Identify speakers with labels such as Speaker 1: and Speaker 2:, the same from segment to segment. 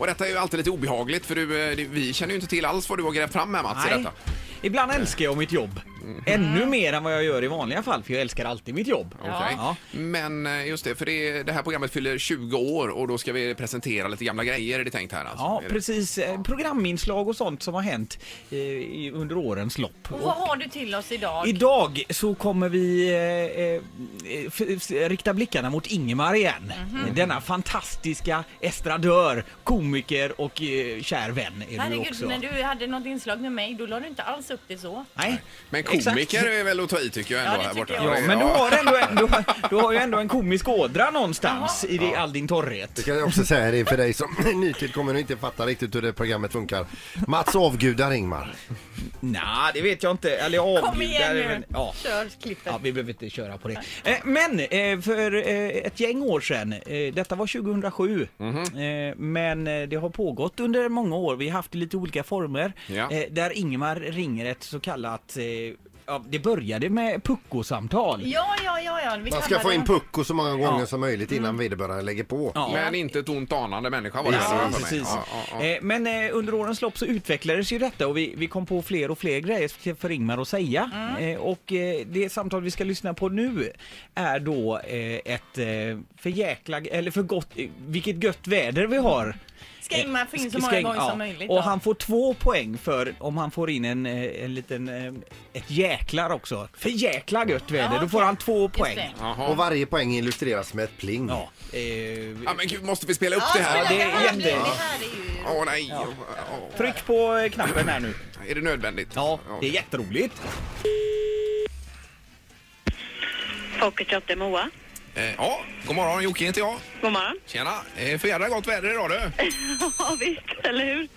Speaker 1: Och detta är ju alltid lite obehagligt för du, eh, det- vi känner ju inte till alls vad du har grävt fram här Mats i
Speaker 2: Nej.
Speaker 1: detta.
Speaker 2: Ibland älskar jag mitt jobb. Ännu mer än vad jag gör i vanliga fall, för jag älskar alltid mitt jobb.
Speaker 1: Okej.
Speaker 2: Ja.
Speaker 1: Men eh, just det, för det, det här programmet fyller 20 år och då ska vi presentera lite gamla grejer är det tänkt här alltså.
Speaker 2: Ja,
Speaker 1: Är det-
Speaker 2: precis. Eh, Programinslag och sånt som har hänt eh, i- under årens lopp.
Speaker 3: Och vad har du till oss idag?
Speaker 2: Idag så kommer vi eh, eh, f- f- rikta blickarna mot Ingemar igen.
Speaker 3: Mhm.
Speaker 2: Denna fantastiska estradör, komiker och eh, kär vän är du
Speaker 3: Herregud,
Speaker 2: också.
Speaker 3: när du hade något inslag med mig, då la du inte alls upp det så.
Speaker 2: Nej.
Speaker 1: Men
Speaker 2: Exakt.
Speaker 1: komiker är väl att ta i tycker jag ändå
Speaker 3: Ja, det
Speaker 1: här
Speaker 3: tycker
Speaker 1: borta.
Speaker 3: jag.
Speaker 2: Ja, men du har, ändå en, du, har, du har ju ändå en komisk ådra någonstans i det, all din
Speaker 4: Det
Speaker 2: torrhet.
Speaker 4: kan jag också säga det för dig som är nytillkommen och inte fattar riktigt hur det programmet funkar. Mats avgudar Ingmar.
Speaker 2: Nej, det vet jag inte. Eller jag
Speaker 3: Kom igen
Speaker 2: avgudar,
Speaker 3: nu!
Speaker 2: men- Ja.
Speaker 3: Kör klippet.
Speaker 2: Ja, vi behöver inte köra på det. Eh, Men eh, för eh, ett gäng år sedan, eh, detta var 2007, eh, men eh, det har pågått under många år. Vi har haft det i lite olika former
Speaker 1: Ja.
Speaker 2: eh, där Ingmar ringer ett så kallat eh, Ja, det började med puckosamtal.
Speaker 3: Ja, ja, ja, ja. Vi
Speaker 4: Man ska
Speaker 3: kallar
Speaker 4: få
Speaker 3: det-
Speaker 4: in pucko så många gånger
Speaker 2: Ja. Mm.
Speaker 4: som möjligt innan vederbörande lägger på.
Speaker 2: Ja.
Speaker 1: Men inte ett ont anande människa var det
Speaker 4: Ja,
Speaker 1: här för mig.
Speaker 2: precis.
Speaker 1: Ja, ja, ja.
Speaker 2: Eh, Men eh, under årens lopp så utvecklades ju detta och vi, vi kom på fler och fler grejer till- för Ingmar att säga.
Speaker 3: Mm.
Speaker 2: Eh, Och eh, det samtal vi ska lyssna på nu är då eh, ett eh, för jäkla, eller för gott, eh, vilket gött väder vi har.
Speaker 3: Ska Ingmar få in så många
Speaker 2: Ska-
Speaker 3: gånger
Speaker 2: ja.
Speaker 3: som möjligt. då?
Speaker 2: Och han får två poäng för om han får in en, eh, en liten, eh, ett jäklar också. För jäkla gött väder, då
Speaker 3: okej.
Speaker 2: får han två poäng.
Speaker 3: Just det.
Speaker 1: Jaha.
Speaker 4: Och varje poäng illustreras med ett pling.
Speaker 2: Ja, eh,
Speaker 1: Ja men gud, måste vi spela upp
Speaker 3: Ja,
Speaker 1: det här?
Speaker 3: men
Speaker 2: det är
Speaker 3: här blir-
Speaker 2: jätte-
Speaker 3: Det här är ju...
Speaker 1: Åh nej, Åh,
Speaker 2: tryck på eh, knappen här nu.
Speaker 1: åh. är det nödvändigt?
Speaker 2: Ja, det är jätteroligt.
Speaker 5: Pocket Shop Moa.
Speaker 1: Eh, Ja, god morgon Jocke heter jag.
Speaker 5: God morgon.
Speaker 1: Tjena! Eh, För jädra gott väder idag du!
Speaker 5: ja, visst, eller hur?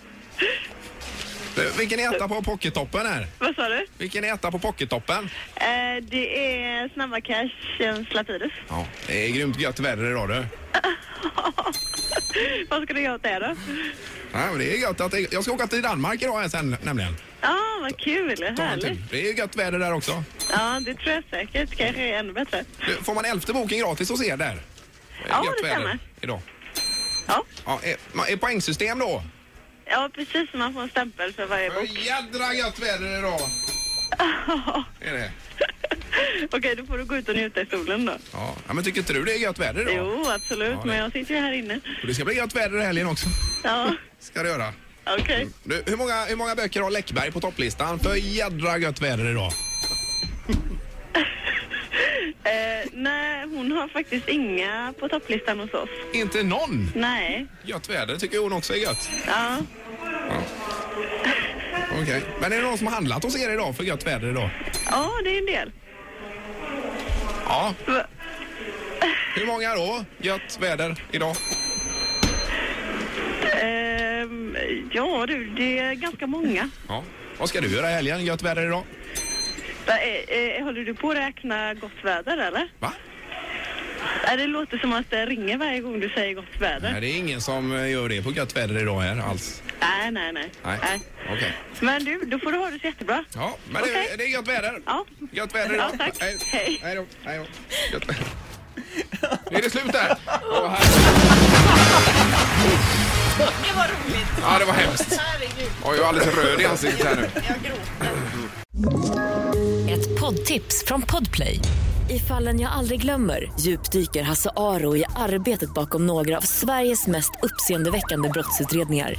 Speaker 1: Eh, Vilken är etta på pockettoppen här?
Speaker 5: Vad sa du?
Speaker 1: Vilken är etta på pockettoppen?
Speaker 5: Eh, det är Snabba Cash eh, Lapidus.
Speaker 1: Ja, det är grymt gött väder idag du.
Speaker 5: Vad ska du göra åt det då?
Speaker 1: Ja, men det är gött att det, jag ska åka till Danmark idag här sen nämligen.
Speaker 5: Ja, ah, vad kul.
Speaker 1: Ta en
Speaker 5: Härligt.
Speaker 1: tur. Det är gött väder där också.
Speaker 5: Ja, det tror jag säkert. Kanske är ännu bättre.
Speaker 1: Du, får man elfte boken gratis hos er där?
Speaker 5: Ja,
Speaker 1: gött
Speaker 5: det
Speaker 1: väder
Speaker 5: stämmer.
Speaker 1: Idag.
Speaker 5: Ja.
Speaker 1: Ja, är, man- är poängsystem då?
Speaker 5: ja, precis. Man får en stämpel för varje bok.
Speaker 1: Jädra gött väder idag! är det?
Speaker 5: Okej, då får du gå ut och njuta i solen då.
Speaker 1: Ja. ja, men tycker inte du det är gött väder idag?
Speaker 5: Jo, absolut.
Speaker 1: Ja, det-
Speaker 5: men jag sitter ju här inne.
Speaker 1: Och det ska bli gött väder i helgen också.
Speaker 5: Ja,
Speaker 1: Ska det göra.
Speaker 5: okej.
Speaker 1: Du, hur, många, hur många böcker har Läckberg på topplistan för jädra gött väder idag?
Speaker 5: Eh, nej, hon har faktiskt inga på topplistan hos oss.
Speaker 1: Inte någon!
Speaker 5: Nej.
Speaker 1: Gött väder tycker hon också är gött.
Speaker 5: Ja.
Speaker 1: Okej. Men är det någon som har handlat hos er idag för gött väder idag?
Speaker 5: ja, det är en del.
Speaker 1: Ja.
Speaker 5: Va-
Speaker 1: Hur många då? Gött väder idag?
Speaker 5: Ehm, ja du, det är ganska många.
Speaker 1: Ja. Vad ska du göra i helgen? Gött väder idag?
Speaker 5: Va, eh, eh, håller du på att räkna gott väder eller?
Speaker 1: Va?
Speaker 5: Eh, Det låter som att det ringer varje gång du säger gott väder.
Speaker 1: Nej, det är ingen som eh, gör det på gött väder idag här alls.
Speaker 5: Nej, nej, nej.
Speaker 1: Nej.
Speaker 5: nej.
Speaker 1: Okej.
Speaker 5: Men du, då får du ha det så jättebra.
Speaker 1: Ja, men det,
Speaker 5: Okej.
Speaker 1: det är gött väder.
Speaker 5: Ja.
Speaker 1: Gött väder idag.
Speaker 5: Ja, tack.
Speaker 1: Hej.
Speaker 5: Hej.
Speaker 1: Hej då. Hej då. Gött väder. Nu är det slut där. Åh, här-
Speaker 3: Det var roligt.
Speaker 1: Ja, det var hemskt.
Speaker 3: Herregud.
Speaker 1: Jag är ju alldeles röd i ansiktet här nu.
Speaker 3: Jag gråter.
Speaker 6: Ett poddtips från Podplay. I fallen jag aldrig glömmer djupdyker Hasse Aro i arbetet bakom några av Sveriges mest uppseendeväckande brottsutredningar.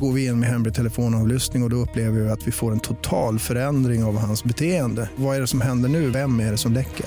Speaker 7: Går vi in med hemlig telefonavlyssning och, och då upplever vi att vi får en total förändring av hans beteende. Vad är det som händer nu? Vem är det som läcker?